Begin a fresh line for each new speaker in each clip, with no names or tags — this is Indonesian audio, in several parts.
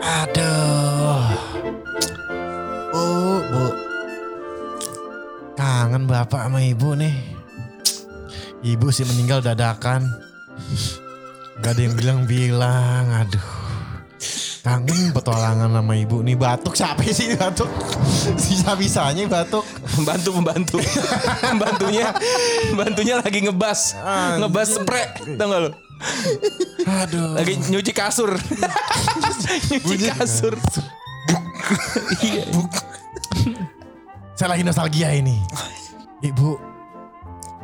Aduh. Bu, bu. Kangen bapak sama ibu nih. Ibu sih meninggal dadakan. Gak ada yang bilang-bilang. Aduh. Kangen petualangan sama ibu nih batuk siapa sih batuk sisa-bisanya batuk
Pembantu pembantu. Pembantunya pembantunya lagi ngebas. Ngebas spray. Tau gak lu?
aduh
Lagi nyuci kasur. nyuci kasur. Iya.
Saya lagi nostalgia ini. Ibu,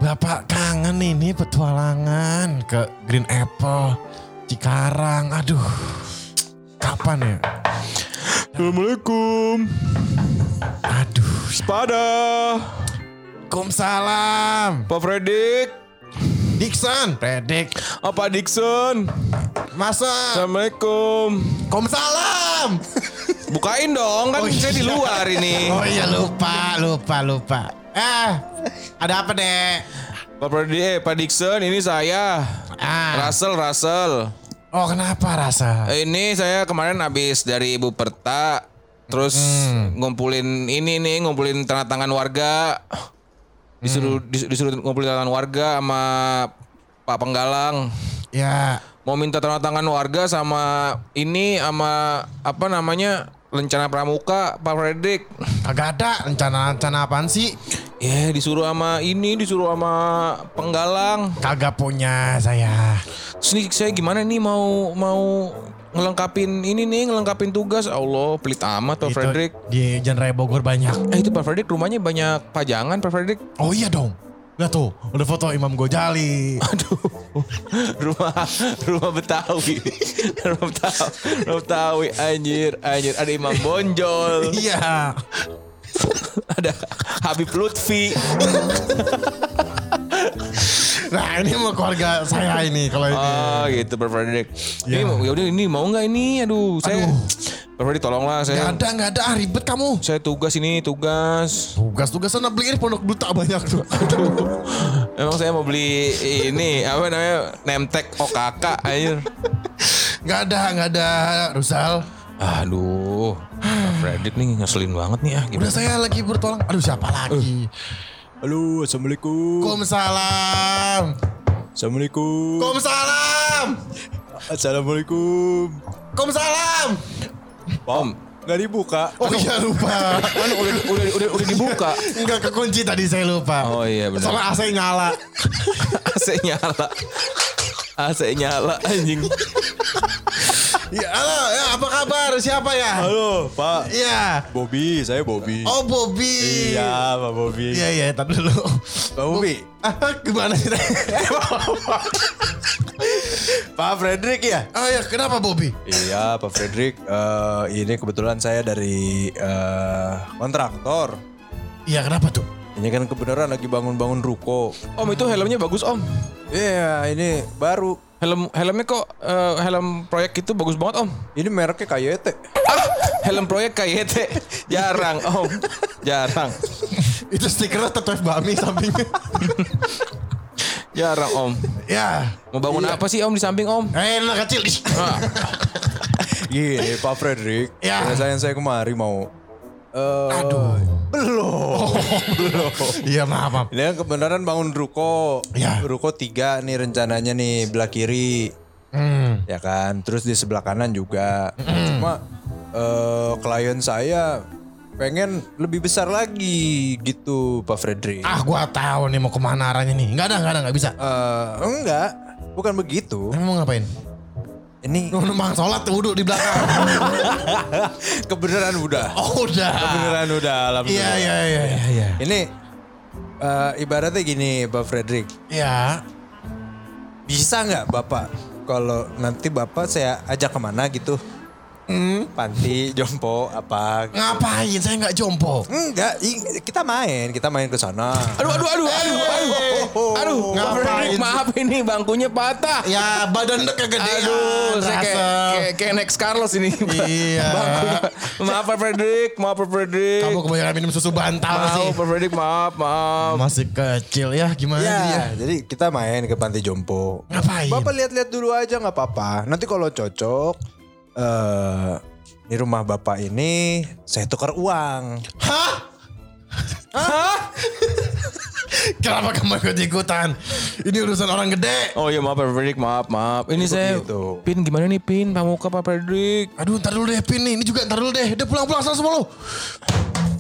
Bapak kangen ini petualangan ke Green Apple, Cikarang. Aduh, kapan ya?
Assalamualaikum.
Aduh,
Pada
Kumsalam.
Pak Fredik.
Dixon, Predik,
Apa Dixon?
masa
Assalamualaikum.
Kumsalam.
Bukain dong kan
Oh,
saya di
iya.
luar ini.
Oh iya lupa, lupa, lupa. Eh, ada apa deh?
Pak Fredik, eh, Pak Dixon ini saya.
Ah,
Russell, Russell.
oh kenapa rasa?
Eh, Ini saya kemarin habis dari Ibu Perta terus ngumpulin ini nih, ngumpulin tanda tangan warga. Disuruh dis- disuruh ngumpulin tanda tangan warga sama Pak Penggalang.
Ya,
Mau minta tanda tangan warga sama ini sama apa namanya? Lencana Pramuka Pak Fredrik.
kagak ada rencana-rencana apaan sih?
Ya, disuruh sama ini, disuruh sama Penggalang.
Kagak punya saya.
Terus nih saya gimana nih mau mau ngelengkapin ini nih, ngelengkapin tugas. Allah, pelit amat
Itu
Pak Fredrik.
Di Jalan Raya Bogor banyak.
Eh itu Pak Fredrik rumahnya banyak pajangan Pak Fredrik.
Oh iya dong. Lihat tuh, ada foto Imam Gojali.
Aduh. rumah rumah Betawi. rumah Betawi. Rumah Betawi anjir anjir ada Imam Bonjol,
iya.
ada Habib Lutfi.
Nah ini mau keluarga saya ini kalau ini.
Oh gitu Pak Fredrik.
Ya.
Ini mau ya udah ini mau nggak ini? Aduh, saya Pak Fredrik tolonglah
Nggak
saya.
ada, nggak ada. ah, Ribet kamu.
Saya tugas ini tugas.
Tugas-tugas sana beli pondok duta banyak tuh.
Emang saya mau beli ini apa namanya nemtek OKK anjir.
Nggak ada, nggak ada. Rusal.
Aduh, Pak Fredrik nih ngeselin banget nih ah.
Udah saya lagi bertolong. Aduh siapa lagi?
Halo,
Uh.
assalamualaikum.
Kumsalam.
Assalamualaikum.
Kumsalam.
Assalamualaikum.
Kumsalam.
Om,
Gak dibuka.
Oh iya lupa.
kan udah udah udah, udah dibuka.
Enggak kekunci tadi saya lupa.
Oh iya, benar.
Soalnya AC nyala.
AC nyala. AC nyala anjing.
Ya, halo, ya, apa kabar? Siapa ya?
Halo, Pak.
Iya.
Bobby, saya Bobby.
Oh Bobby.
Iya, Pak Bobby.
Iya iya, tapi dulu.
Pak Bobby.
Ah, gimana sih?
Pak Frederick ya?
oh ya, kenapa Bobby?
Iya, Pak Frederick. Eh, ini kebetulan saya dari eh, kontraktor.
Iya, kenapa tuh?
Ini kan kebenaran lagi bangun-bangun ruko.
Om itu helmnya bagus, Om.
Iya, ini baru.
Helm helmnya kok eh, helm proyek itu bagus banget, Om.
Ini mereknya KYT.
Ah, helm proyek KYT. Jarang, Om. Jarang.
Itu stikernya tatoif bami sampingnya.
Jarang, Om.
ya.
Mau bangun apa sih, Om di samping, Om?
Eh, anak kecil. Ih,
Gini, Pak Frederick.
Ya.
Perasaan saya kemari mau. eh,
Aduh.
Belum. Belum.
Iya, maaf, maaf.
Ini kan kebenaran bangun ruko.
Ya.
Ruko tiga nih rencananya nih belah kiri.
Hmm.
Ya kan. Terus di sebelah kanan juga. Cuma eh, klien saya pengen lebih besar lagi gitu Pak Frederick.
Ah, gua tahu nih mau kemana arahnya nih. Enggak ada, enggak ada, enggak bisa.
Eh, enggak. Bukan begitu.
Emang mau ngapain?
Ini
Mau numpang sholat wudhu di belakang.
kebenaran udah.
oh, udah.
Kebenaran udah.
Iya,
alhamdulillah.
iya, iya, iya, iya.
Ini eh, ibaratnya gini Pak Frederick.
Iya.
Bisa nggak Bapak kalau nanti Bapak saya ajak kemana gitu? Hmm? Panti, jompo, apa?
Ngapain? Saya nggak jompo.
Enggak, i- kita main, kita main ke sana.
Aduh, aduh, aduh, aduh, aduh, aduh, aduh, Pak
Ngapain
Fredrik,
sih?
maaf ini bangkunya patah.
Ya, badan Ya, kegedean.
Aduh, saya kayak,
Russell.
kayak, kayak Next Carlos ini.
Iya.
Bangkunya. maaf Pak Fredrik, maaf Pak Fredrik.
Kamu kebanyakan minum susu bantal sih.
Maaf Pak Fredrik, maaf, maaf.
Masih kecil ya gimana dia?
Ya, jadi kita main ke panti jompo.
Ngapain?
Bapak lihat-lihat dulu aja nggak apa-apa. Nanti kalau cocok, eh di rumah bapak ini saya tukar uang.
Hah? Hah? Kenapa kamu ikut ikutan? Ini urusan orang gede.
Oh iya maaf Pak Fredrik, maaf, maaf. Ini saya
begitu.
Pin gimana nih Pin? Pamuka Pak Fredrik.
Aduh, ntar dulu deh Pin nih. Ini juga ntar dulu deh. Udah pulang-pulang sana semua lu.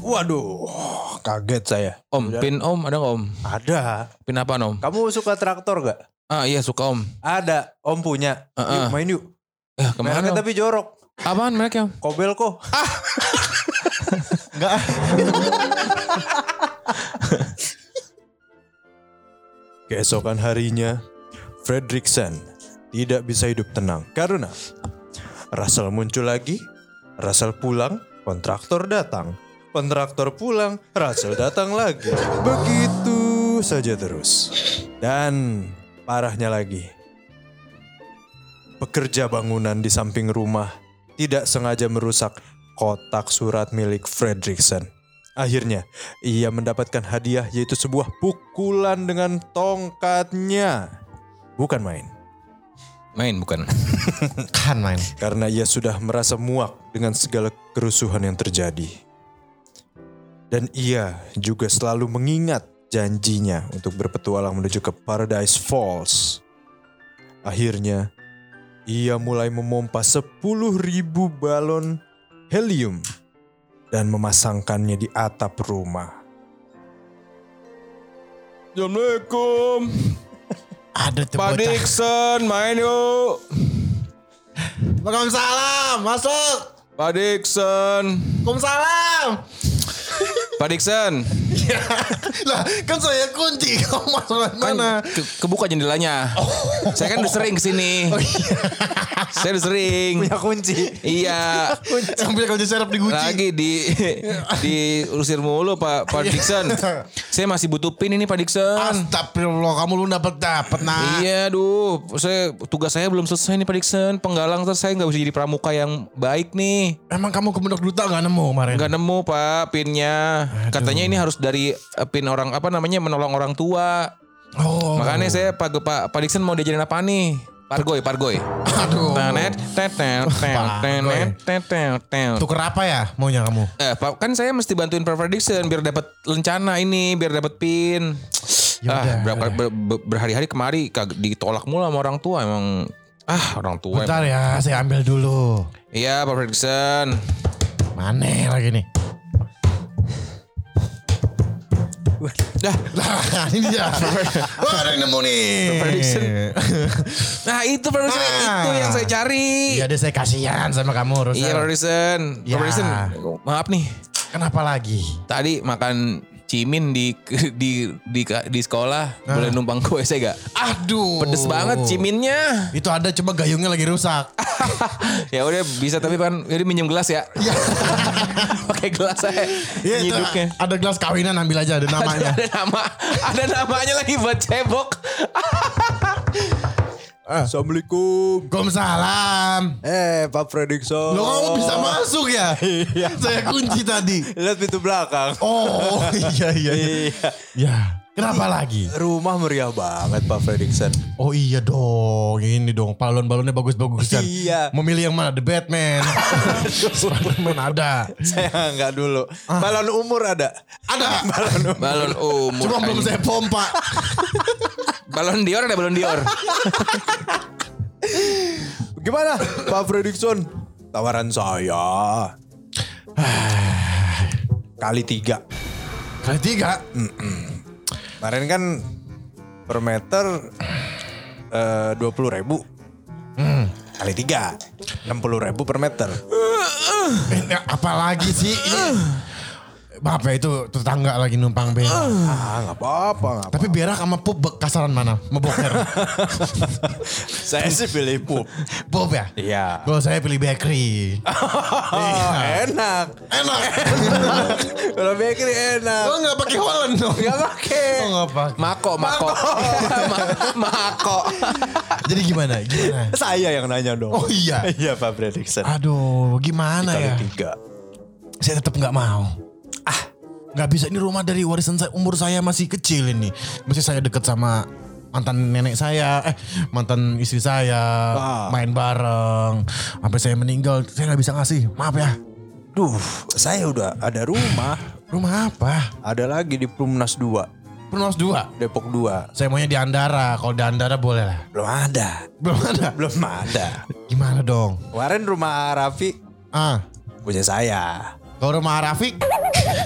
Waduh, Oh, kaget saya.
Om, Pin Om ada nggak Om?
Ada.
Pin apa Om?
Kamu suka traktor gak?
Ah iya suka Om.
Ada, Om punya. Yuk, main yuk.
Eh, kemana?
Mereknya
Om?
tapi jorok.
Apaan mereknya?
Kobelko.
Enggak.
Keesokan harinya, Fredriksen tidak bisa hidup tenang karena Russell muncul lagi, Russell pulang, kontraktor datang, kontraktor pulang, Russell datang lagi. Begitu saja terus. Dan parahnya lagi, pekerja bangunan di samping rumah tidak sengaja merusak kotak surat milik Fredriksen. Akhirnya, ia mendapatkan hadiah yaitu sebuah pukulan dengan tongkatnya. Bukan main,
Main bukan.
Kan main.
karena ia sudah merasa muak dengan segala kerusuhan yang terjadi. Dan ia juga selalu mengingat janjinya untuk berpetualang menuju ke Paradise Falls. Akhirnya, ia mulai memompa 10.000 balon helium dan memasangkannya di atap rumah.
Assalamualaikum.
Aduh, tuh bocah.
Pak Dixon, main yuk.
Waalaikumsalam. Masuk.
Pak Dixon.
Waalaikumsalam.
Pak Dixon.
Ya. lah, kan saya kunci. Kamu masuk lewat
Kan
mana?
ke- kebuka jendelanya. Saya kan udah sering kesini. Saya udah sering.
kunci.
Iya.
Sambil kamu serap di guci.
Lagi di di usir mulu Pak Pak Dixon. Saya masih butuh pin ini Pak Dixon.
Astagfirullah, kamu lu dapat dapat nah.
Iya, aduh, saya tugas saya belum selesai nih Pak Dixon. Penggalang terus saya nggak bisa jadi pramuka yang baik nih.
Emang kamu ke Pondok Duta gak nemu kemarin?
Nggak nemu Pak pinnya. Katanya ini harus dari eh, pin orang apa namanya menolong orang tua.
Oh.
Makanya saya Pak Pak Pak Dixon mau diajarin apa nih? Pargoy, pargoy. Nah,
Aduh.
Tenet, tetel, tetel, tenet, tetel, tetel.
Tuker apa ya maunya kamu?
Eh, Pak, kan saya mesti bantuin Pak Fredrickson biar dapat lencana ini, biar dapat pin.
Ya
ah,
udah,
berapa ber- ber- berhari-hari kemari kag- ditolak mulu sama orang tua emang. Ah, orang tua. emang.
Bentar ya, saya ambil dulu.
Iya, Pak Fredrickson.
Mana lagi nih?
Dah,
Lah, ini dia. Wah, ada yang nemu nih.
Prediction. nah itu Pak Fredrickson,
Ah.
itu yang saya cari.
Iya deh, saya kasihan sama kamu. Rosa.
Iya, Pak Fredrickson. Pak
Ya.
Fredrickson, maaf nih.
Kenapa lagi?
Tadi makan cimin di di di, di sekolah
Nah.
boleh numpang kue saya gak?
Aduh.
Pedes
Oh.
banget ciminnya.
Itu ada cuma gayungnya lagi rusak.
ya udah bisa tapi kan jadi minjem gelas ya. Pakai gelas saya
Iya, itu
nyiduknya.
ada gelas kawinan ambil aja ada namanya.
Ada nama, ada namanya lagi buat cebok.
Assalamualaikum.
Waalaikumsalam.
Ah. Eh, Pak Fredrikson.
Lo kamu bisa masuk ya? saya kunci tadi.
Lihat pintu belakang.
Oh iya iya iya.
Iya.
Ya, kenapa lagi?
Rumah meriah banget Pak Fredrikson.
Oh iya dong, ini dong balon-balonnya bagus-bagusan.
Iya.
Memilih yang mana? The Batman. Superman ada.
Saya nggak dulu.
Ah.
Balon umur ada.
Ada.
Balon umur.
Balon umur.
Cuma belum
anjing.
saya pompa.
Balon Dior ada balon Dior.
Gimana Pak Fredrikson? Tawaran saya. Kali tiga.
Kali tiga.
Kemarin kan per meter eh, dua puluh ribu.
Hmm.
Kali tiga. Enam puluh ribu per meter.
Ini Eh, apa lagi sih? Ini. Bapak itu tetangga lagi numpang berak.
Ah nggak apa-apa nggak apa.
Uh. Tapi berak sama pup be- kasaran mana? Meboker.
Saya sih pilih pup.
Bob ya?
Iya.
Kalau saya pilih bakery. Iya.
Oh, enak.
Enak.
Kalau bakery enak.
Lo nggak pakai Holland dong?
Iya,
Nggak pakai.
Oh nggak pakai.
Mako, Mako. Ma- Mako.
Jadi gimana? Gimana?
Saya yang nanya dong.
Oh iya.
Iya Pak Fredrikson.
Aduh, gimana
Kali
ya?
tiga.
Saya tetap nggak mau. Ah, nggak bisa. Ini rumah dari warisan saya. Umur saya masih kecil ini. Masih saya deket sama mantan nenek saya, eh mantan istri saya
Ah.
main bareng sampai saya meninggal, saya nggak bisa ngasih. Maaf ya.
Duh, saya udah ada rumah.
Rumah apa?
ada lagi di Perumnas 2,
Pernas dua.
Depok 2.
Saya maunya di Andara, kalau di Andara boleh lah.
Belum ada.
Belum ada.
Belum ada.
Gimana dong?
Kemarin rumah Raffi
Ah,
punya saya.
kalau rumah Rafiq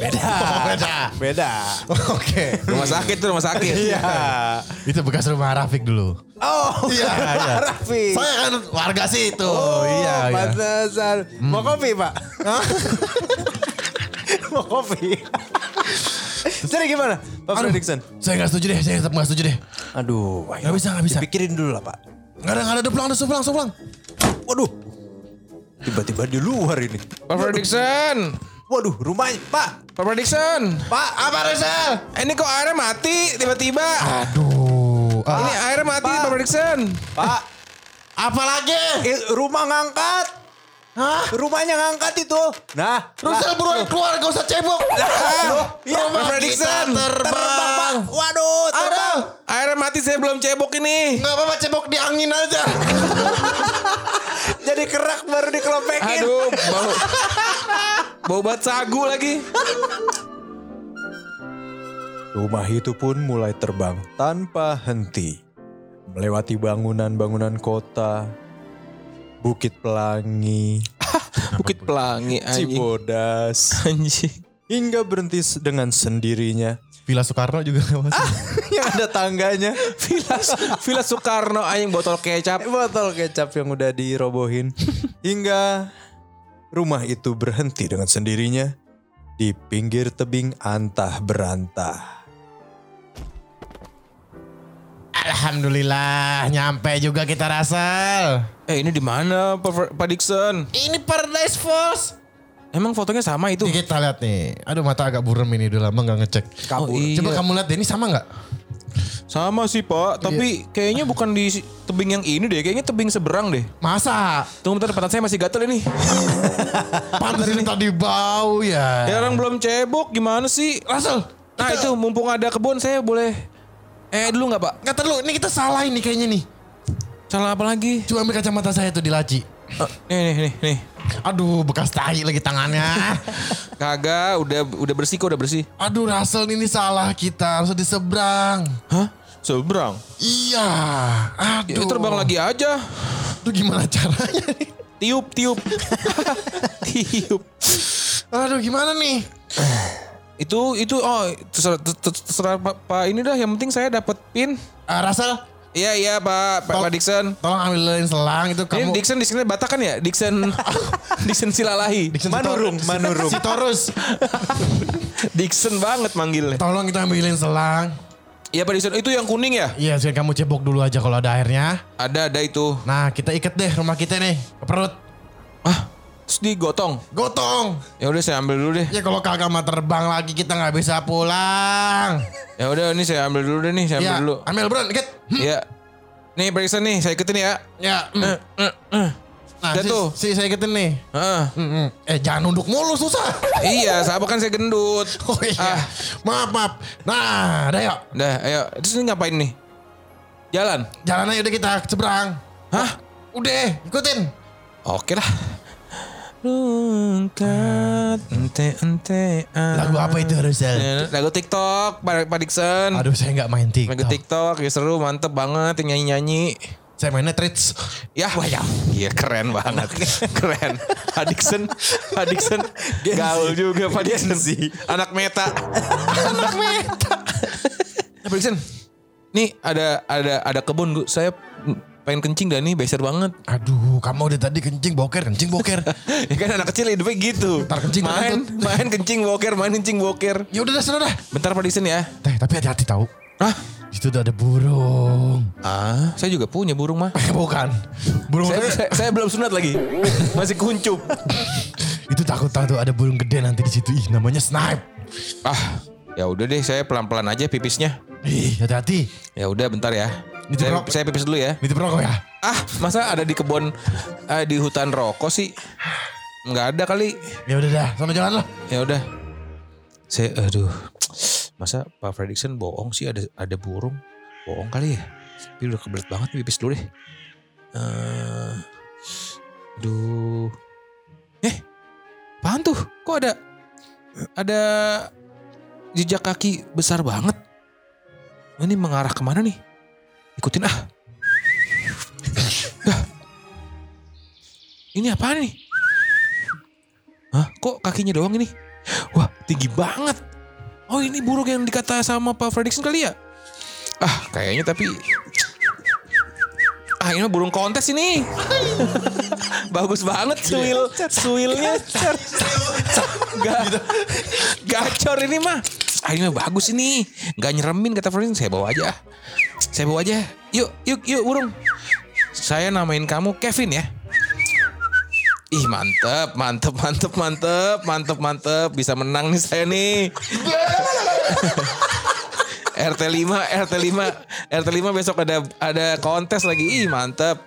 Beda.
Oh, beda.
Beda.
Oke.
Rumah sakit tuh rumah sakit.
Iya.
Itu bekas rumah Rafiq dulu.
Oh,
Iya, iya.
Raffi.
Saya kan warga situ.
Oh,
iya, iya.
pantesan. Mau kopi, Pak? Mau kopi? Jadi gimana? Pak
Aduh,
Fredrickson?
Saya nggak setuju deh, saya tetap nggak setuju deh.
Aduh,
Nggak bisa, nggak bisa.
Pikirin dulu lah, Pak.
Nggak ada, nggak ada, udah pulang, udah sudah pulang, sudah pulang.
Waduh. Tiba-tiba di luar ini.
Pak Fredrickson,
Waduh, rumahnya, Pak.
Pak Fredrickson.
Pak, apa Rizal?
Eh, Ini kok airnya mati tiba-tiba.
Aduh. Ah,
Ini airnya mati
Pak.
Pak Fredrickson.
Pak,
apa lagi?
i- rumah ngangkat.
Hah?
Rumahnya ngangkat itu. Nah,
Rusel buruan keluar, gak usah cebok.
Ah,
iya,
Pak
Rumah kita
Fredrickson.
terbang, Pak.
terbang.
Waduh, terbang.
Aduh.
Airnya mati saya belum cebok ini.
Gak apa-apa, cebok di angin aja.
Jadi kerak baru dikelopekin.
Aduh, bau. Bau bat sagu lagi.
Rumah itu pun mulai terbang tanpa henti, melewati bangunan-bangunan kota, Bukit Pelangi,
Bukit Pelangi anjing.
Cibodas,
Anjing.
hingga berhenti s- dengan sendirinya
Villa Soekarno juga lewat.
yang ada tangganya,
Villa, Villa Soekarno anjing botol kecap.
Eh, botol kecap yang udah dirobohin, hingga rumah itu berhenti dengan sendirinya di pinggir tebing antah berantah.
Alhamdulillah, nyampe juga kita Rasel.
Eh ini di mana Pak, Fre- Pak Dixon?
Ini Paradise Falls.
Emang fotonya sama itu?
Nih kita lihat nih. Aduh mata agak buram ini udah lama nggak ngecek.
Kabur. Oh, iya.
Coba kamu lihat deh ini sama nggak?
Sama sih Pak, tapi kayaknya bukan di si- tebing yang ini deh, kayaknya tebing seberang deh.
Masa?
Tunggu bentar, pantat saya masih gatel ini.
Pantas ini tadi bau
Ya
ya.
orang belum cebok gimana sih? Rasul. Nah itu mumpung ada kebun saya boleh. Eh dulu nggak pak?
Nggak terlalu. Ini kita salah ini kayaknya nih.
Salah apa lagi?
Coba ambil kacamata saya tuh di laci.
Eh, nih nih nih nih.
Aduh bekas tai lagi tangannya.
Kagak, udah udah bersih kok udah bersih.
Aduh Rasel ini salah kita harus di seberang.
Hah? Seberang.
Iya.
Ya,
Aduh.
terbang lagi aja.
Aduh gimana caranya nih?
Tiup tiup. tiup.
Aduh gimana nih?
Itu itu oh terserah, ter- terserah pak, Pak ini dah. Yang penting saya dapat pin.
Ah, Rasel
Iya iya pak Pak,
Tol-
Pak Dixon.
tolong ambilin selang itu kamu.
Ini Dixon di sini Batak kan ya? Dixon Dixon Silalahi.
Dixon
Manurung,
Sitorus.
manurung.
Sitorus.
Dixon banget manggilnya.
Tolong itu ambilin selang.
Iya Pak Dixon, itu yang kuning ya?
Iya, sekarang kamu cebok dulu aja kalau ada airnya.
Ada ada itu.
Nah, kita ikat deh rumah kita nih ke perut.
Ah, terus digotong.
Gotong.
Ya udah saya ambil dulu deh.
Ya kalau kagak mah terbang lagi kita nggak bisa pulang.
Ya udah ini saya ambil dulu deh nih, saya ambil
ya,
dulu.
ambil bro, ikat. Hmm,
Ya. Nih periksa nih, saya ikutin ya.
Ya. hmm. Nah,
Udah
si,
eh, tuh.
si saya ikutin nih.
Heeh.
Hmm, hmm. Eh, jangan nunduk mulu susah.
Ah, iya, sama kan saya gendut.
Oh iya.
Ah.
Maaf, maaf. Nah, udah yuk.
Dah, ayo. Terus ini ngapain nih? Jalan.
Jalan aja udah kita ke seberang.
Hah?
Udah, ikutin.
Oke lah. Lungkat ente ente.
Lagu apa itu Rusel?
Lagu TikTok, Pak Pak Dixon.
Aduh, saya nggak main
Lagu
TikTok.
TikTok, ya seru, mantep banget yang nyanyi-nyanyi.
Saya mainnya Trits.
Ya, wayang. Iya keren banget. keren. Pak Dixon, Pak Dixon
Gen Z.
gaul juga Pak
Gen
Dixon.
Z.
Anak meta. Anak meta. Ya, Pak Dixon. Nih ada ada ada kebun gua- saya pengen kencing dan nih beser banget.
Aduh, kamu udah tadi kencing boker, kencing boker.
Ya kan anak kecil hidupnya gitu.
Ntar kencing
main,
terkentut.
main kencing boker, main kencing boker.
ya udah dah, sana dah.
Bentar Pak Dixon ya.
Teh, tapi hati-hati tahu.
Ah,
Di situ udah ada burung.
ah, saya juga punya burung mah.
Eh, bukan. Burung
Saya,
itu,
saya, saya belum sunat lagi. Masih kuncup.
itu takut tahu ada burung gede nanti di situ. Ih, namanya snipe.
Ah, ya udah deh saya pelan-pelan aja pipisnya.
Ih, hati-hati.
Ya udah bentar ya.
Ini
Saya,
jeruk.
saya pipis dulu ya.
Nitip rokok ya.
Ah, masa ada di kebun eh, di hutan rokok sih? Nggak ada kali.
Ya udah dah, sana jalan lah.
Ya udah. Saya aduh. Masa Pak Fredrickson bohong sih ada ada burung. bohong kali ya tapi udah kebelet banget nih, pipis dulu deh Eh, aduh eh apaan tuh kok ada ada jejak kaki besar banget ini mengarah kemana nih ikutin ah Dah. ini apaan nih Hah, kok kakinya doang ini? Wah, tinggi banget. Oh, ini burung yang dikata sama Pak Fredrickson kali ya? Ah, kayaknya tapi... Ah, ini mah burung kontes ini. Bagus banget suil suilnya. Ga- Gacor ini mah. Ah, ini mah bagus ini. Gak nyeremin kata Fredrickson. Saya bawa aja. ah. Saya bawa aja. Yuk, yuk, yuk burung. Saya namain kamu Kevin ya. Ih mantep, mantep, mantep, mantep, mantep, mantep. Bisa menang nih saya nih. RT 5, RT 5, RT 5 besok ada ada kontes lagi. Ih mantep.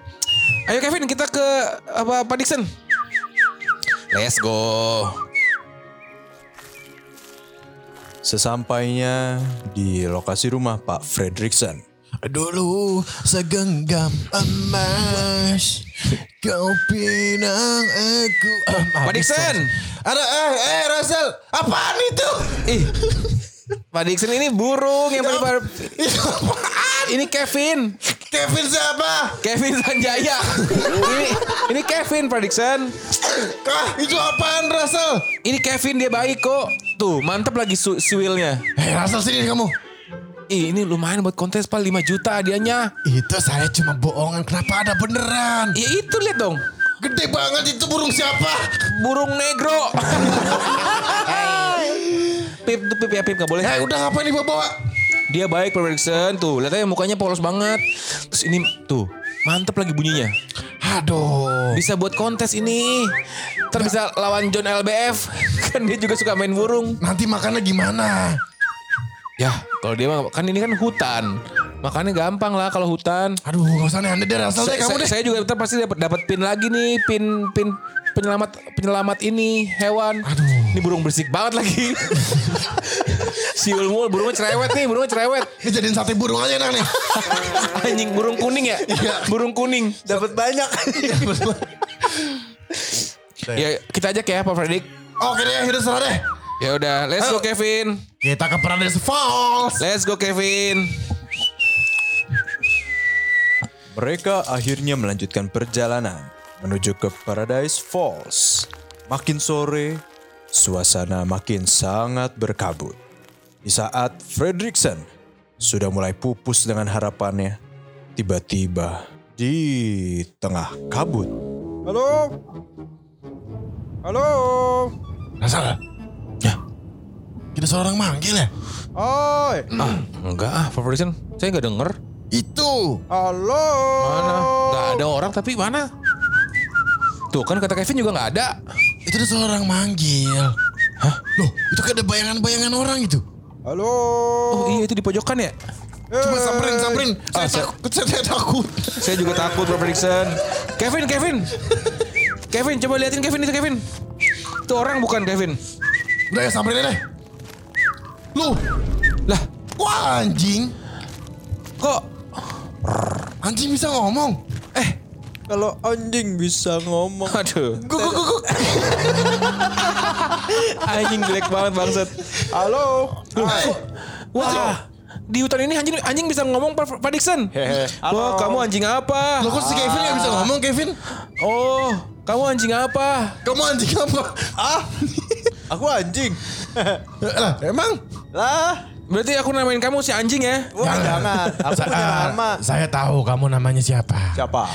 Ayo Kevin kita ke apa Pak Dixon. Let's go.
Sesampainya di lokasi rumah Pak Fredrickson,
Dulu segenggam emas Kau pinang aku Em,
Pak
habis,
Dixon.
Ada eh eh Razel Apaan itu?
Ih. Pak Dixon ini burung yang paling
Itu apaan?
ini Kevin.
Kevin siapa?
Kevin Sanjaya. ini ini Kevin Pak Dixon.
Kah, itu apaan Razel?
Ini Kevin dia baik kok. Tuh mantep lagi su suilnya.
Eh Razel sini kamu
Ih, ini lumayan buat kontes pak 5 juta hadiahnya.
Itu saya cuma bohongan Kenapa ada beneran?
Ya itu lihat dong.
Gede banget itu burung siapa?
Burung negro. pip tuh pip ya pip gak boleh.
Eh udah ngapain dibawa-bawa?
Dia baik Pak Bergson tuh. Lihat aja mukanya polos banget. Terus ini tuh mantep lagi bunyinya.
Aduh
Bisa buat kontes ini. Ntar bisa lawan John LBF. kan dia juga suka main burung.
Nanti makannya gimana?
Ya kalau dia mah- kan ini kan hutan. Makannya gampang lah kalau hutan.
Aduh gak usah aneh-aneh deh Razel deh
saya,
kamu
saya-
deh
saya juga ntar pasti dapat dapat pin lagi nih, pin pin penyelamat penyelamat ini hewan.
Aduh.
Ini burung berisik banget lagi. Siul mul, burungnya cerewet nih, burungnya cerewet.
Ini Ya, jadiin sate burung aja enak nih
Anjing burung kuning ya? burung kuning.
dapat banyak.
Ya kita ajak ya Pak Fredik.
Oke deh udah serah deh
Ya udah, let's go Kevin.
Kita ke Paradise Falls
Let's go Kevin.
Mereka akhirnya melanjutkan perjalanan menuju ke Paradise Falls. Makin sore, suasana makin sangat berkabut. Di saat Fredrickson sudah mulai pupus dengan harapannya, tiba-tiba di tengah kabut
Halo? Halo?
Razel Ya Kita seorang manggil ya
Oi.
Ah, enggak ah, Pak Fredik. Saya enggak denger.
Itu
Oh.
Halo?
Mana? Enggak ada orang tapi mana? Tuh kan kata Kevin juga enggak ada.
Itu ada seorang manggil Hah? Loh itu kayak ada bayangan-bayangan orang gitu
Halo?
Oh iya itu di pojokan ya?
Eh.
Coba samperin samperin Saya
Ah, saya-
takut Saya, saya takut
Saya juga takut Bro Dixon. Kevin, Kevin. Kevin, coba liatin Kevin itu Kevin. Itu orang bukan Kevin.
Udah ya samperin aja deh Loh
Lah,
Wah anjing
kok Eh,
Anjing bisa ngomong
Kalau anjing bisa ngomong.
aduh. Guk guk guk. Anjing jelek banget bangsat.
Halo?
Hai. Ah.
Wah. Di hutan ini anjing anjing bisa ngomong Pak Pak Dixon. Wah, kamu anjing
Loh
apa?
kok si Kevin gak bisa ngomong Kevin?
Oh, kamu anjing apa?
Kamu anjing apa?
Ah, aku anjing.
Eh, Lah emang?
lah,
Berarti aku namain kamu si anjing ya?
wah jangan. Aku punya
Ah,
nama.
Saya tahu kamu namanya siapa.
Siapa?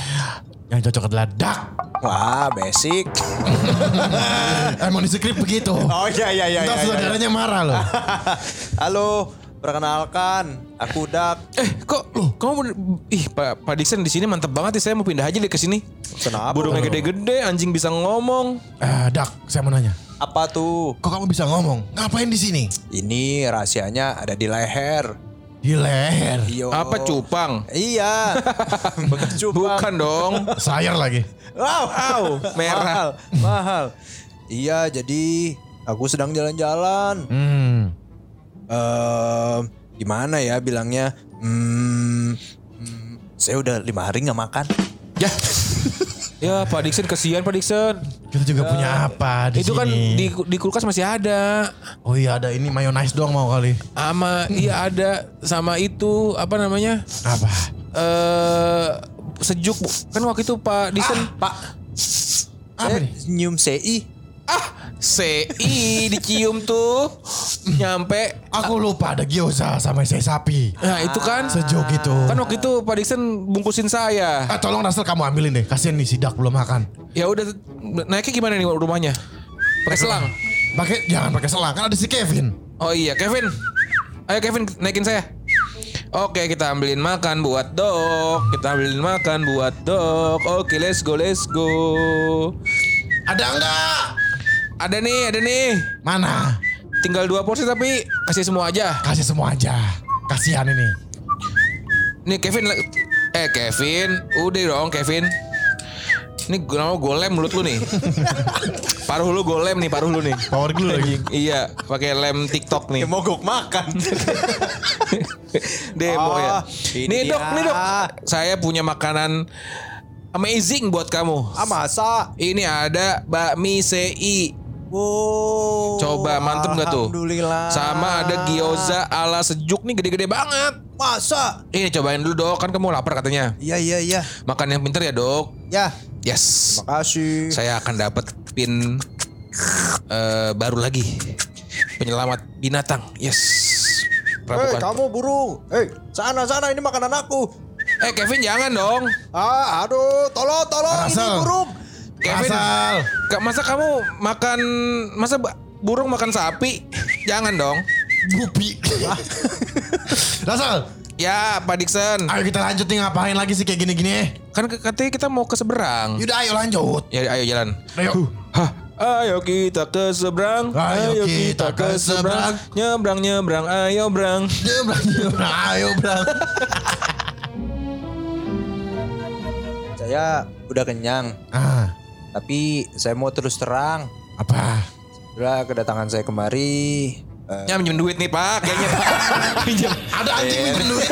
Yang cocok adalah Dak.
Wah, basic.
Eh, Emang di skrip begitu.
Ah. Oh iya iya iya.
Entah
iya, iya.
saudaranya marah loh.
Halo, perkenalkan, aku Dak.
Eh, kok kamu bener- ih Pak Pak Dixon di sini mantap banget ya. Saya mau pindah aja deh ke sini.
Kenapa?
Burungnya gede-gede, anjing bisa ngomong.
Eh, Dak, saya mau nanya.
Apa tuh?
Kok kamu bisa ngomong? Ngapain di sini?
Ini rahasianya ada di leher.
Di leher.
Yo.
Oh.
Apa cupang?
Iya. Bekas cupang.
Bukan dong.
Sayar lagi.
Wow, wow.
Merah.
Mahal, mahal. Iya, jadi aku sedang jalan-jalan.
Hmm.
Eh, gimana ya bilangnya? Hmm, Saya udah lima hari nggak makan.
Ya. ya Pak Dixon kesian Pak Dixon.
Kita juga punya apa di
Ya. Itu
sini?
kan di, di kulkas masih ada.
Oh iya ada ini mayonnaise doang mau kali.
Sama iya ada sama itu apa namanya?
Apa?
Eh sejuk Bu. kan waktu itu Pak Dixon Pak
Apa
Eh.
nih?
Nyium CI.
ah CI dicium tuh nyampe
Aku lupa ada gyoza sama isi sapi.
nah itu kan
Sejauh gitu.
kan waktu itu Pak Dixon bungkusin saya
Ah, tolong Nasel kamu ambilin deh. Kasihan nih sidak belum makan.
ya udah naiknya gimana nih rumahnya pakai selang
Pakai jangan pakai selang kan ada si Kevin.
oh iya Kevin ayo Kevin naikin saya Oke kita ambilin makan buat dok Kita ambilin makan buat dok Oke let's go let's go
Ada enggak?
Ada nih ada nih
Mana?
Tinggal dua porsi tapi Kasih semua aja
Kasih semua aja. Kasihan ini.
Nih Kevin le- Eh Kevin Udah dong Kevin Ini gue nama golem mulut lu nih Paruh lu golem nih paruh lu nih
Power glue lagi.
Iya pakai lem tiktok nih
Ya mogok makan.
Demo
Oh,
ya
ini
Nih dok
dia.
nih dok Saya punya makanan Amazing buat kamu
ah masa?
Ini ada bakmi CI
Wow.
Coba mantep gak tuh?
Oh, Alhamdulillah.
Sama ada gyoza ala sejuk nih gede-gede banget
Masa?
Ini cobain dulu dok Kan kamu lapar katanya
Iya iya iya.
Makan yang pinter ya dok
Ya.
Yes
Makasih.
saya akan dapat pin eh, baru lagi penyelamat binatang yes
Eh
Rambukan.
kamu burung. Eh sana sana ini makanan aku.
eh Kevin jangan dong
Ah aduh tolong tolong ini
Rasel.
burung.
Kevin
Nasel.
ka- masa kamu makan masa ba- burung makan sapi jangan dong
Gupi. Nasel.
ya Pak Dixon
Ayo kita lanjut nih ngapain lagi sih kayak gini-gini.
kan ke- katanya kita mau ke seberang
Yaudah ayo lanjut.
ya ayo jalan
Ayo.
Hah, ayo kita ke seberang,
Ayo kita ke
nyebrang nyebrang, ayo brang.
Nyebrang, nyebrang. Ayo berang.
Saya udah kenyang.
Ah,
Tapi saya mau terus terang.
apa?
Setelah kedatangan saya kemari. eh,
Ya minjem duit nih Pak, kayaknya. Pinjem.
Ada anjing minjem duit.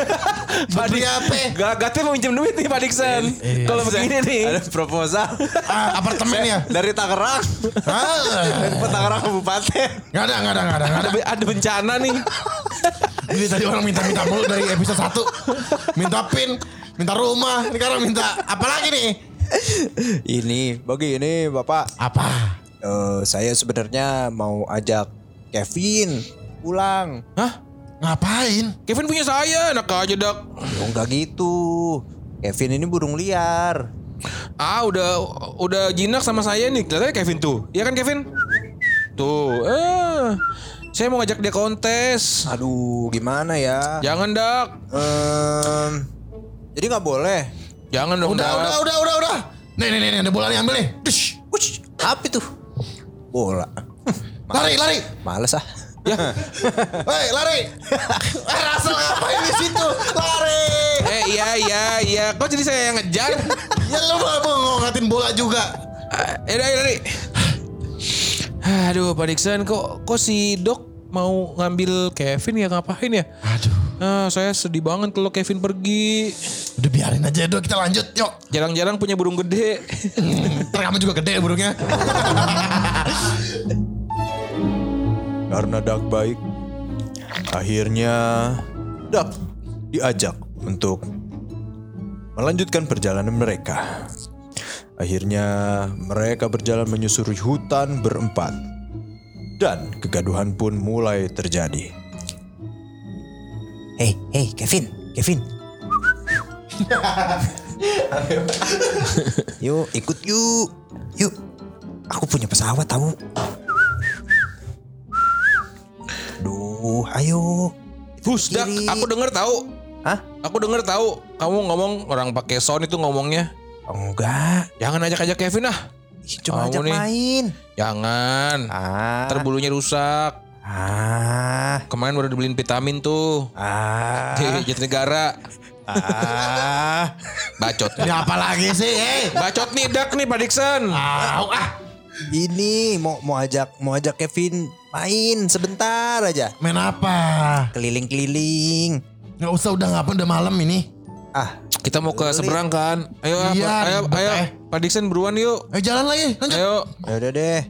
Beli apa?
Gak, Gatel mau minjem duit nih Pak Dixon. Kalau begini nih.
ada proposal
Ah, apartemen ya?
dari Tangerang.
Ah,
Dari Tangerang Kabupaten.
nggak ada, nggak ada, nggak ada, nggak
Ada,
ada.
ada bencana nih.
Jadi tadi orang minta-minta mulu dari episode 1 Minta pin, minta rumah. Sekarang minta apa lagi nih?
Ini bagi ini Bapak.
Apa?
Eh, saya sebenarnya mau ajak Kevin pulang.
Hah?
Ngapain?
Kevin punya saya, enak aja dok.
Oh, enggak gitu. Kevin ini burung liar.
Ah udah udah jinak sama saya nih. Kelihatannya Kevin tuh. Iya kan Kevin? Tuh. Eh. Saya mau ngajak dia kontes.
Aduh, gimana ya?
Jangan dak.
Em, jadi nggak boleh.
Jangan dong
Udah,
dak.
udah, udah, udah, udah. Nih, nih, nih, nih, ada bola nih, ambil nih. Dush.
Wush, apa itu? Bola.
Lari, lari.
Males ah.
Ya.
Hei, lari. Eh, Russell ngapain di situ? Lari.
Eh iya iya iya. Kok jadi saya yang ngejar?
Ya lu mau mau ngongkatin bola juga.
Eh udah lari. Aduh Pak Dixon kok kok si dok mau ngambil Kevin ya ngapain ya?
Aduh.
Ah, saya sedih banget kalau Kevin pergi.
Udah biarin aja, dok. Kita lanjut, yuk.
Jarang-jarang punya burung gede.
Ntar Hmm. kamu juga gede burungnya.
Karena Dak baik, akhirnya Dak diajak untuk melanjutkan perjalanan mereka. Akhirnya mereka berjalan menyusuri hutan berempat. Dan kegaduhan pun mulai terjadi.
Hey, hey, Kevin, Kevin. yuk, ikut yuk. Yuk. Aku punya pesawat tahu. Duh, ayo.
Bus, Dak,
Kiri.
aku denger tahu.
Hah?
Aku denger tahu kamu ngomong orang pakai sound itu ngomongnya.
Enggak.
Jangan ajak-ajak Kevin ah.
Ih,
Kamu
Cuma ajak
nih.
main.
Jangan.
Ah.
Ntar bulunya rusak.
ah.
Kemarin baru dibeliin vitamin tuh.
Ah.
Di Jatinegara.
ah.
Bacot.
Ini Ya, apa lagi sih? Hei.
Bacot nih Dak nih Pak Dixon.
Ah, au, ah.
Ini mau mau ajak mau ajak Kevin main sebentar aja.
Main apa?
Keliling-keliling.
Nggak usah udah ngapain udah malam ini.
Ah,
Kita mau ke seberang kan? Ayo, ah,
Iya,
Pa- ayo,
ribet,
ayo,
eh.
Pak Dixon beruan yuk.
Ayo jalan lagi, lanjut.
Ayo,
Yaudah deh.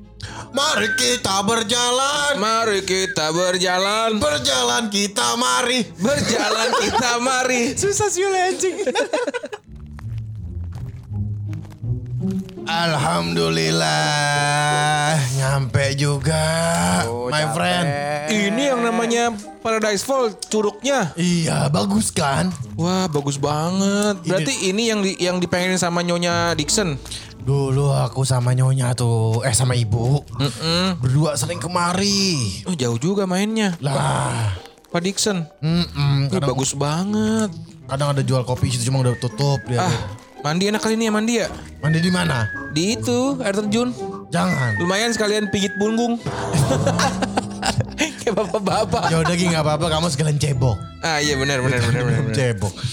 Mari kita berjalan.
mari kita berjalan,
Berjalan kita mari.
berjalan kita mari.
Susah sih anjing.
Alhamdulillah nyampe juga my friend.
Ini yang namanya Paradise Fall curugnya.
Iya, bagus kan?
Wah, bagus banget. Berarti ini yang di, yang dipengenin sama Nyonya Dixon.
Dulu aku sama nyonya tuh, eh sama ibu,
Mm-mm.
berdua sering kemari.
Oh, jauh juga mainnya.
Lah,
Pak Dixon.
mm-mm,
Ih,
kadang,
bagus banget.
kadang ada jual kopi situ cuma udah tutup dia.
Ah, mandi enak kali ini ya mandi ya.
Mandi di mana?
Di itu air terjun.
Jangan.
Lumayan sekalian pijit punggung. Kayak bapak-bapak.
Ya udah Gi, nggak apa-apa, kamu sekalian cebok.
Ah iya benar benar benar benar. benar.
Cebok.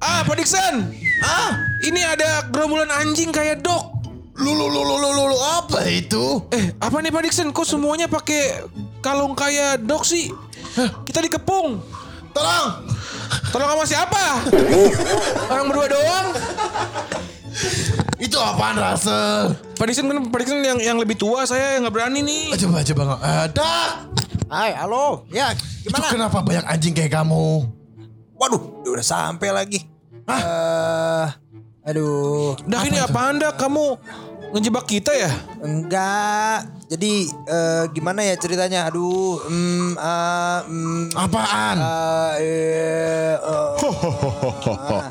Ah, Pak Dixon. Ah, ini ada gerombolan anjing kayak dok.
Lu lu lu lu lu, lu, lu, apa itu?
Eh, apa nih Pak Dixon? Kok semuanya pakai kalung kayak dok sih? Kita dikepung.
Tolong,
Tolong sama siapa? Orang berdua doang.
itu apaan Russell?
Pak Dixon kan Pak Dixon yang yang lebih tua saya yang nggak berani nih.
Eh, Coba coba nggak ada.
Hai, halo. Ya,
Itu
gimana?
kenapa banyak anjing kayak kamu?
Waduh, dia udah sampai lagi.
Hah?
Eh, aduh,
Dah ini apa anda? Kamu ngejebak kita ya?
enggak. Jadi eh, gimana ya ceritanya? Aduh, mm, ah, mm,
Apaan?
ah, eh,
oh.
eh,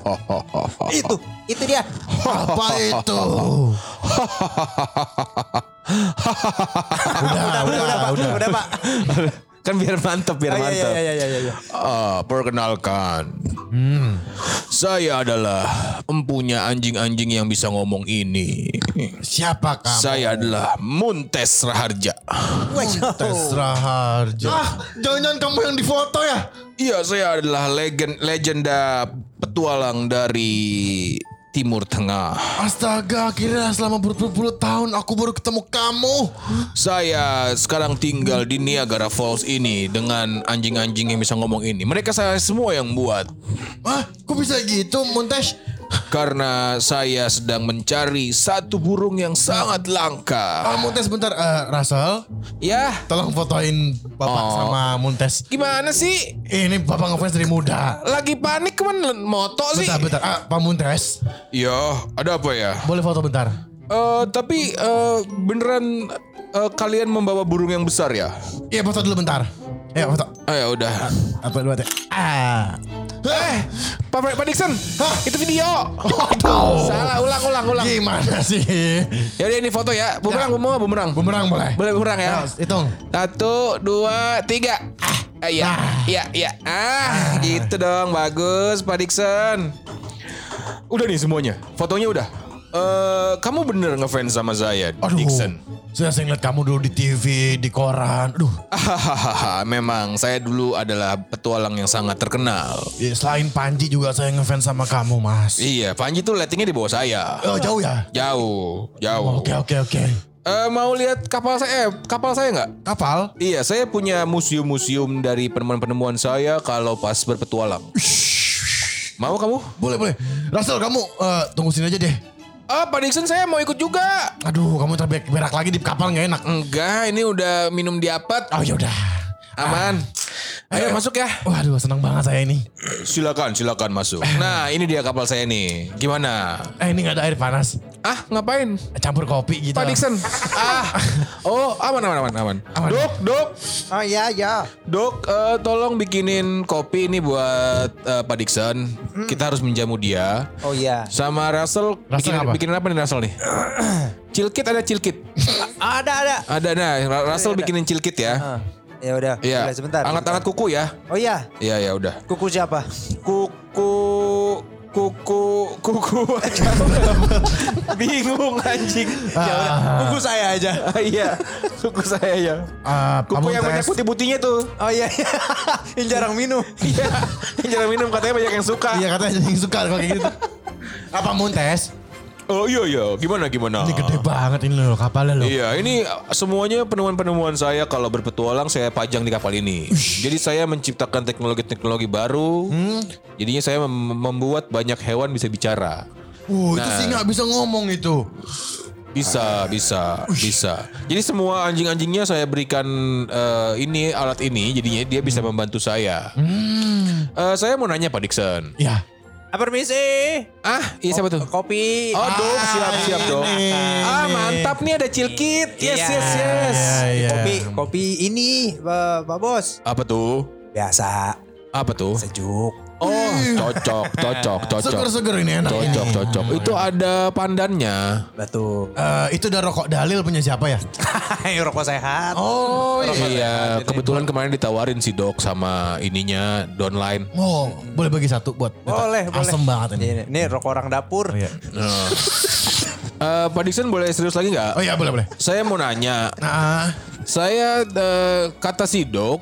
ah. itu, itu dia.
Apa itu? udah, udah, udah, udah,
Udah, Pak.
Kan biar mantep, biar
Ah, iya,
mantep.
iya, iya, iya, iya.
Ah, perkenalkan. Hmm. Saya adalah empunya anjing-anjing yang bisa ngomong ini.
Siapa kamu?
Saya adalah Muntes Raharja.
Tes Raharjo. Ah, jangan-jangan kamu yang difoto ya?
Iya, saya adalah legend legenda petualang dari Timur Tengah.
Astaga, akhirnya selama berpuluh-puluh tahun aku baru ketemu kamu.
Saya sekarang tinggal di Niagara Falls ini dengan anjing-anjing yang bisa ngomong ini. Mereka saya semua yang buat.
Hah? Kok bisa gitu, Montes?
Karena saya sedang mencari satu burung yang sangat langka.
Ah, Montes bentar, Eh, Russell.
Ya,
Tolong fotoin bapak
Oh.
sama Montes.
gimana sih?
Ini bapak ngefans dari muda.
Lagi panik kan moto sih.
Bentar, bentar. Ah, Pak Montes,
Ya, ada apa ya?
boleh foto bentar?
Eh, tapi eh, beneran eh, kalian membawa burung yang besar ya?
Iya, foto dulu bentar. Ayo, foto.
Ah, ya udah.
Apa dulu teh? Ah.
Eh, Pak, Pak Dixon, itu video.
Waduh.
Salah, ulang, ulang, ulang.
Gimana sih?
Ya udah ini foto ya. Bumerang, bumerang, bumerang.
Bumerang boleh?
Boleh bumerang
Nah,
ya.
hitung.
Satu, dua, tiga. Ah, ah, iya,
Nah.
iya, iya. Ah, gitu dong. Bagus, Pak Dixon. Udah nih semuanya. Fotonya udah. Eh, kamu bener ngefans sama saya,
Aduh.
Dixon.
Saya sering lihat kamu dulu di TV, di koran. Aduh,
Hahaha, memang saya dulu adalah petualang yang sangat terkenal.
ya, selain Panji juga saya ngefans sama kamu, Mas.
Iya, Panji tuh lettingnya di bawah saya.
Oh, jauh ya?
Jauh, jauh.
Oke, oke, oke.
Eh, mau lihat kapal saya? Eh, kapal saya nggak?
Kapal?
Iya, saya punya museum-museum dari penemuan-penemuan saya kalau pas berpetualang. Mau kamu?
Boleh, boleh. Russell, kamu eh, tunggu sini aja deh.
Ah, Pak Dixon saya mau ikut juga.
Aduh, kamu terberak berak lagi di kapal nggak enak.
Enggak, ini udah minum diapet.
Oh, yaudah.
Aman. Ayo masuk ya.
Waduh, senang banget saya ini.
Silakan, silakan masuk. Nah, ini dia kapal saya nih. Gimana?
Eh, ini nggak ada air panas.
Ah, ngapain?
Campur kopi gitu.
Pak Dixon. Ah. Oh, aman aman aman aman.
Aman.
Dok, dok,
Oh iya, iya.
dok, eh, tolong bikinin kopi ini buat eh, Pak Dixon. Kita harus menjamu dia.
Oh iya.
Sama Russell,
Russell
bikin,
apa?
bikinin apa nih Russell nih? Cilkit ada cilkit.
Ada, ada.
Ada nah, Ra- Russell bikinin cilkit ya.
Ah, ya udah.
Iya.
Udah, Sebentar.
Angkat-angkat kuku ya.
Oh iya.
Iya ya udah.
Kuku siapa?
Kuku kuku kuku bingung anjing
Ah.
ya udah kuku saya aja iya kuku saya ya
Ah, Pak
kuku yang banyak
Montes.
putih putihnya tuh
Oh iya. iya. Yang jarang minum.
Iya, yang jarang minum katanya banyak yang suka.
Iya katanya jadi suka kalau kayak gitu. Apa Montes?
Oh iya iya, gimana gimana?
Ini gede banget ini loh kapalnya loh.
Iya, ini semuanya penemuan-penemuan saya kalau berpetualang saya pajang di kapal ini. Jadi saya menciptakan teknologi-teknologi baru. Jadinya saya mem- membuat banyak hewan bisa bicara.
Uh,
Nah.
itu sih nggak bisa ngomong itu.
Bisa, bisa, bisa. Jadi semua anjing-anjingnya saya berikan eh, ini alat ini, jadinya dia bisa membantu saya.
Hmm.
Eh, saya mau nanya Pak Dixon.
Ya.
Apa permisi?
Ah, iya siapa tuh?
Kopi.
Oh, dong,
Ah,
siap, siap dong.
ini,
Ah,
ini.
mantap nih ada cilkit. Yes,
Iya.
yes, yes.
Iya, iya.
Kopi, kopi ini, Pak Pak Bos.
Apa tuh?
Biasa,
Apa tuh?
sejuk.
Oh, cocok, cocok, cocok.
Seger-seger ini enak.
Cocok,
ini.
cocok. Itu ada pandannya.
Betul.
Eh, itu udah rokok dalil punya siapa ya?
Ayo rokok sehat.
Oh,
Iya, kebetulan kemarin ditawarin si Dok sama ininya downline.
Oh, boleh bagi satu buat.
Boleh, boleh.
Gitu.
Iya,
Asem banget ini.
Ini, ini rokok orang dapur.
iya.
Eh, Pak Dixon boleh serius lagi
Oh
nggak?
iya boleh boleh.
Saya mau nanya,
Nah,
saya eh, kata si Dok,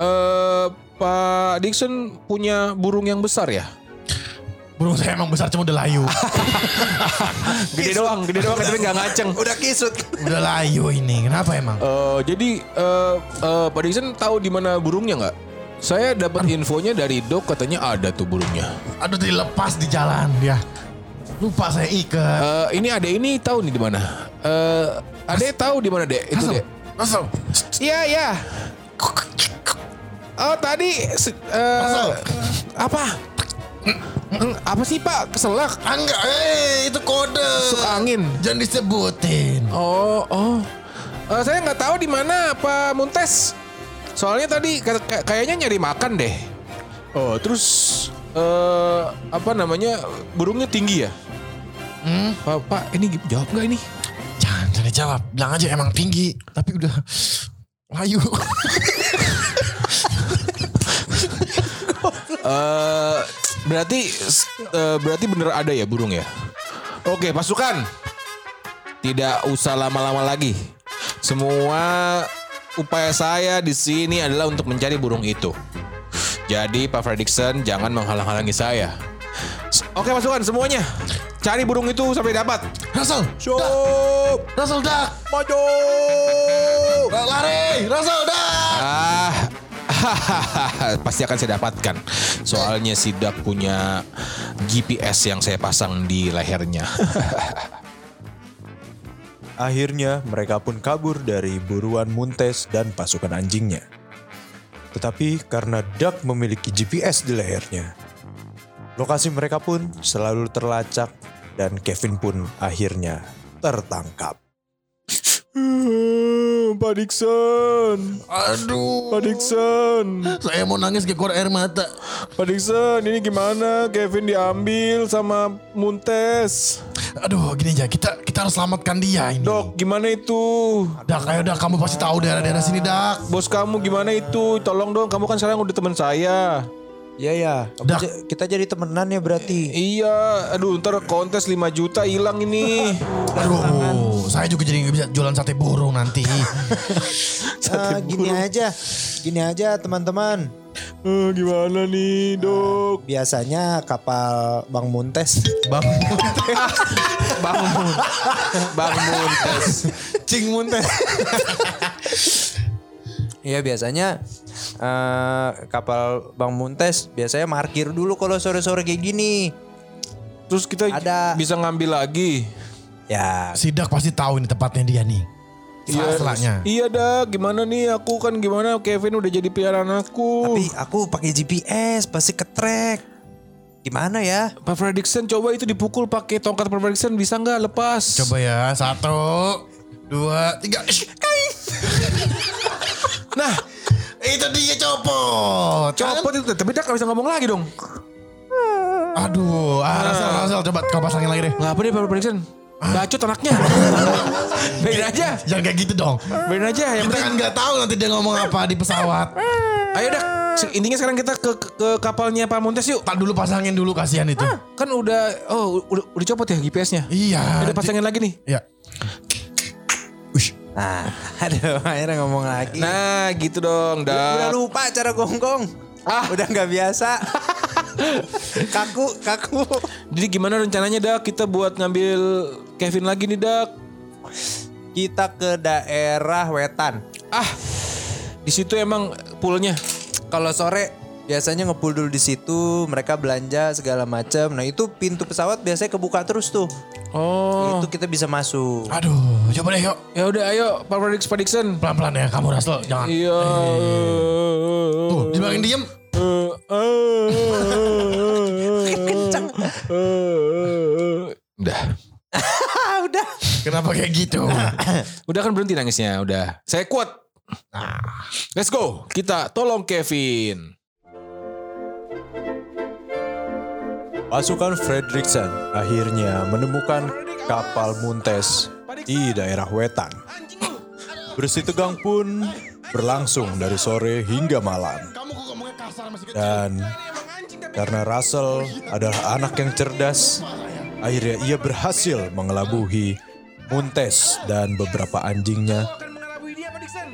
eh, Pak Dixon punya burung yang besar ya?
burung saya emang besar cuma udah layu.
Gede doang, gede doang tapi nggak ngaceng.
Udah kisut.
udah layu ini. Kenapa emang?
Eh, jadi eh, eh, Pak Dixon tahu di mana burungnya nggak? Saya dapat infonya dari Dok katanya ada tuh burungnya.
Aduh dilepas di jalan ya. Lupa saya ikat.
Eh, ini ada ini tahu nih di mana? Eh, ada tahu di mana dek? Itu dek.
Masuk.
Iya iya. Oh tadi se- eh,
Masuk.
apa? Eng, Apa sih Pak keselak?
Ah, enggak, eh itu kode.
Masuk angin.
Jangan disebutin.
Oh oh. Eh, saya nggak tahu di mana Pak Muntes. Soalnya tadi ka- ka- kayaknya nyari makan deh. Oh terus eh apa namanya burungnya tinggi ya? Pak, Pak, ini gi- jawab nggak ini?
Jangan, jangan dijawab. Bilang aja emang tinggi, tapi udah layu.
eh berarti s- eh, berarti bener ada ya burung ya. Oke, pasukan. Tidak usah lama-lama lagi. Semua upaya saya di sini adalah untuk mencari burung itu. Jadi Pak Fredrickson jangan menghalang-halangi saya. S- Oke, pasukan semuanya. Cari burung itu sampai dapat.
Russell, dah. Russell, dah.
Maju.
Lari, Russell, dah.
Ah, pasti akan saya dapatkan. Soalnya si Dak punya GPS yang saya pasang di lehernya.
Akhirnya mereka pun kabur dari buruan Muntes dan pasukan anjingnya. Tetapi karena Duck memiliki GPS di lehernya, lokasi mereka pun selalu terlacak dan Kevin pun akhirnya tertangkap.
Hmm, Pak Dixon,
Aduh,
Pak Dixon,
saya mau nangis keluar air mata.
Pak Dixon, ini gimana? Kevin diambil sama Muntes.
Aduh, gini aja. Kita kita harus selamatkan dia ini.
Dok, gimana itu?
Dak, ayo dak, kamu pasti tahu daerah-daerah
Iya.
sini, Dak.
Bos kamu gimana itu? Tolong dong, kamu kan sekarang udah teman saya.
Iya ya. Kamu
Dah.
j- Kita jadi temenan ya berarti.
Iya, aduh ntar kontes 5 juta hilang ini.
Aduh, saya juga jadi nggak bisa jualan sate burung nanti.
Ah, gini aja. Gini aja teman-teman. Ah,
Eh, gimana nih, Dok?
Biasanya kapal Bang Muntes.
Bang Muntes.
Bang Mun. Bang Muntes.
Cing Muntes. Iya biasanya eh, kapal Bang Muntes biasanya markir dulu kalau sore-sore kayak gini.
Terus kita
Ada.
bisa ngambil lagi.
Ya
Si Dak pasti tahu ini tempatnya dia nih.
Iya.
Selaknya.
Iya dah, gimana nih aku kan gimana Kevin udah jadi peliharaan aku.
tapi aku pakai GPS pasti ketrek. Gimana ya?
Pak Fredrickson coba itu dipukul pakai tongkat Pak Fredrickson bisa nggak lepas?
Coba ya, satu, dua, tiga. Ish, kai. nah, itu dia copot.
Copot itu, tapi dia nggak bisa ngomong lagi dong.
Aduh, ah, Rasel, Rasel, coba kau pasangin lagi deh.
Ngapa deh Pak Fredrickson?
Ah.
Bacot anaknya. Biarin aja,
Jangan kayak gitu dong.
biarin aja. Yang
Kita
penting,
kan nggak tahu nanti dia ngomong apa di pesawat.
ayo dah. Se- Intinya sekarang kita ke, ke- ke kapalnya Pak Montes yuk.
Tak dulu pasangin dulu kasihan itu.
Kan udah, oh u- udah, udah copot ya GPS-nya.
Iya.
Udah pasangin lagi nih.
Ya. Ush.
Nah, aduh akhirnya ngomong lagi.
Nah gitu dong
udah
Dak.
lupa cara gonggong. Ah. Udah nggak biasa. kaku, kaku.
Jadi gimana rencananya Dak kita buat ngambil Kevin lagi nih Dak?
Kita ke daerah wetan.
Ah, di situ emang poolnya.
Kalau sore biasanya ngepul dulu di situ, mereka belanja segala macam. Nah, itu pintu pesawat biasanya kebuka terus tuh.
Oh,
Itu kita bisa masuk.
Ah. Aduh, coba deh yuk.
ya udah ayo Pak Prediksi Prediksen.
Pelan-pelan ya kamu Raslo, jangan.
Iya. Eh,
Tuh, dibilangin diem.
eh, Udah.
Kenapa kayak gitu?
Udah kan berhenti nangisnya, udah. Saya kuat. Nah, Let's go. Kita tolong Kevin.
Pasukan Fredriksen akhirnya menemukan kapal Muntes di daerah wetan. Bersih tegang pun berlangsung dari sore hingga malam. Dan karena Russell adalah anak yang cerdas, akhirnya ia berhasil mengelabuhi Muntes dan beberapa anjingnya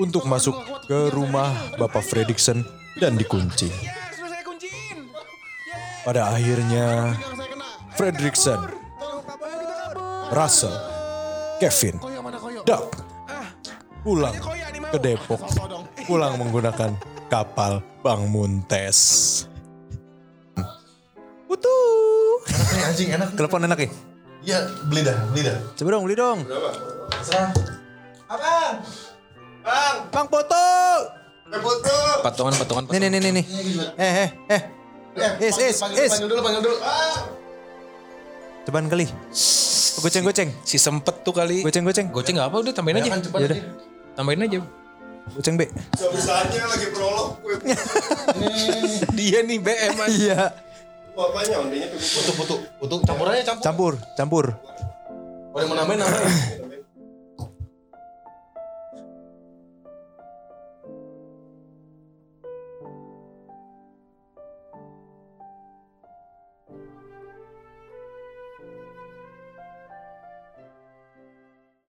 untuk masuk ke rumah Bapak Fredriksen dan dikunci. Pada akhirnya, Fredrickson, Russell, Kevin, Doug pulang ke Depok, pulang menggunakan kapal Bang Muntes.
Utuh.
Ini anjing enak.
Telepon enak ya?
Iya, beli dah, beli dah.
Coba dong, beli dong.
Abang,
Bang foto.
foto.
Patungan, patungan,
Nih,
patungan.
nih, nih, nih, nih. Eh, eh, eh.
Ya,
Is, is, is.
Panggil dulu, panggil dulu. Ah.
Cobaan kali. Goceng, goceng.
Si sempet tuh kali.
Goceng, goceng.
Goceng nggak apa udah tambahin aja.
Yaudah,
Tambahin aja.
goceng B.
Sebesarnya lagi prolog gue
Dia nih BM aja.
Iya.
apanya ondenya
Putu, putu, putu. Campur aja, campur.
Campur, campur.
Boleh mau nambahin, nambahin.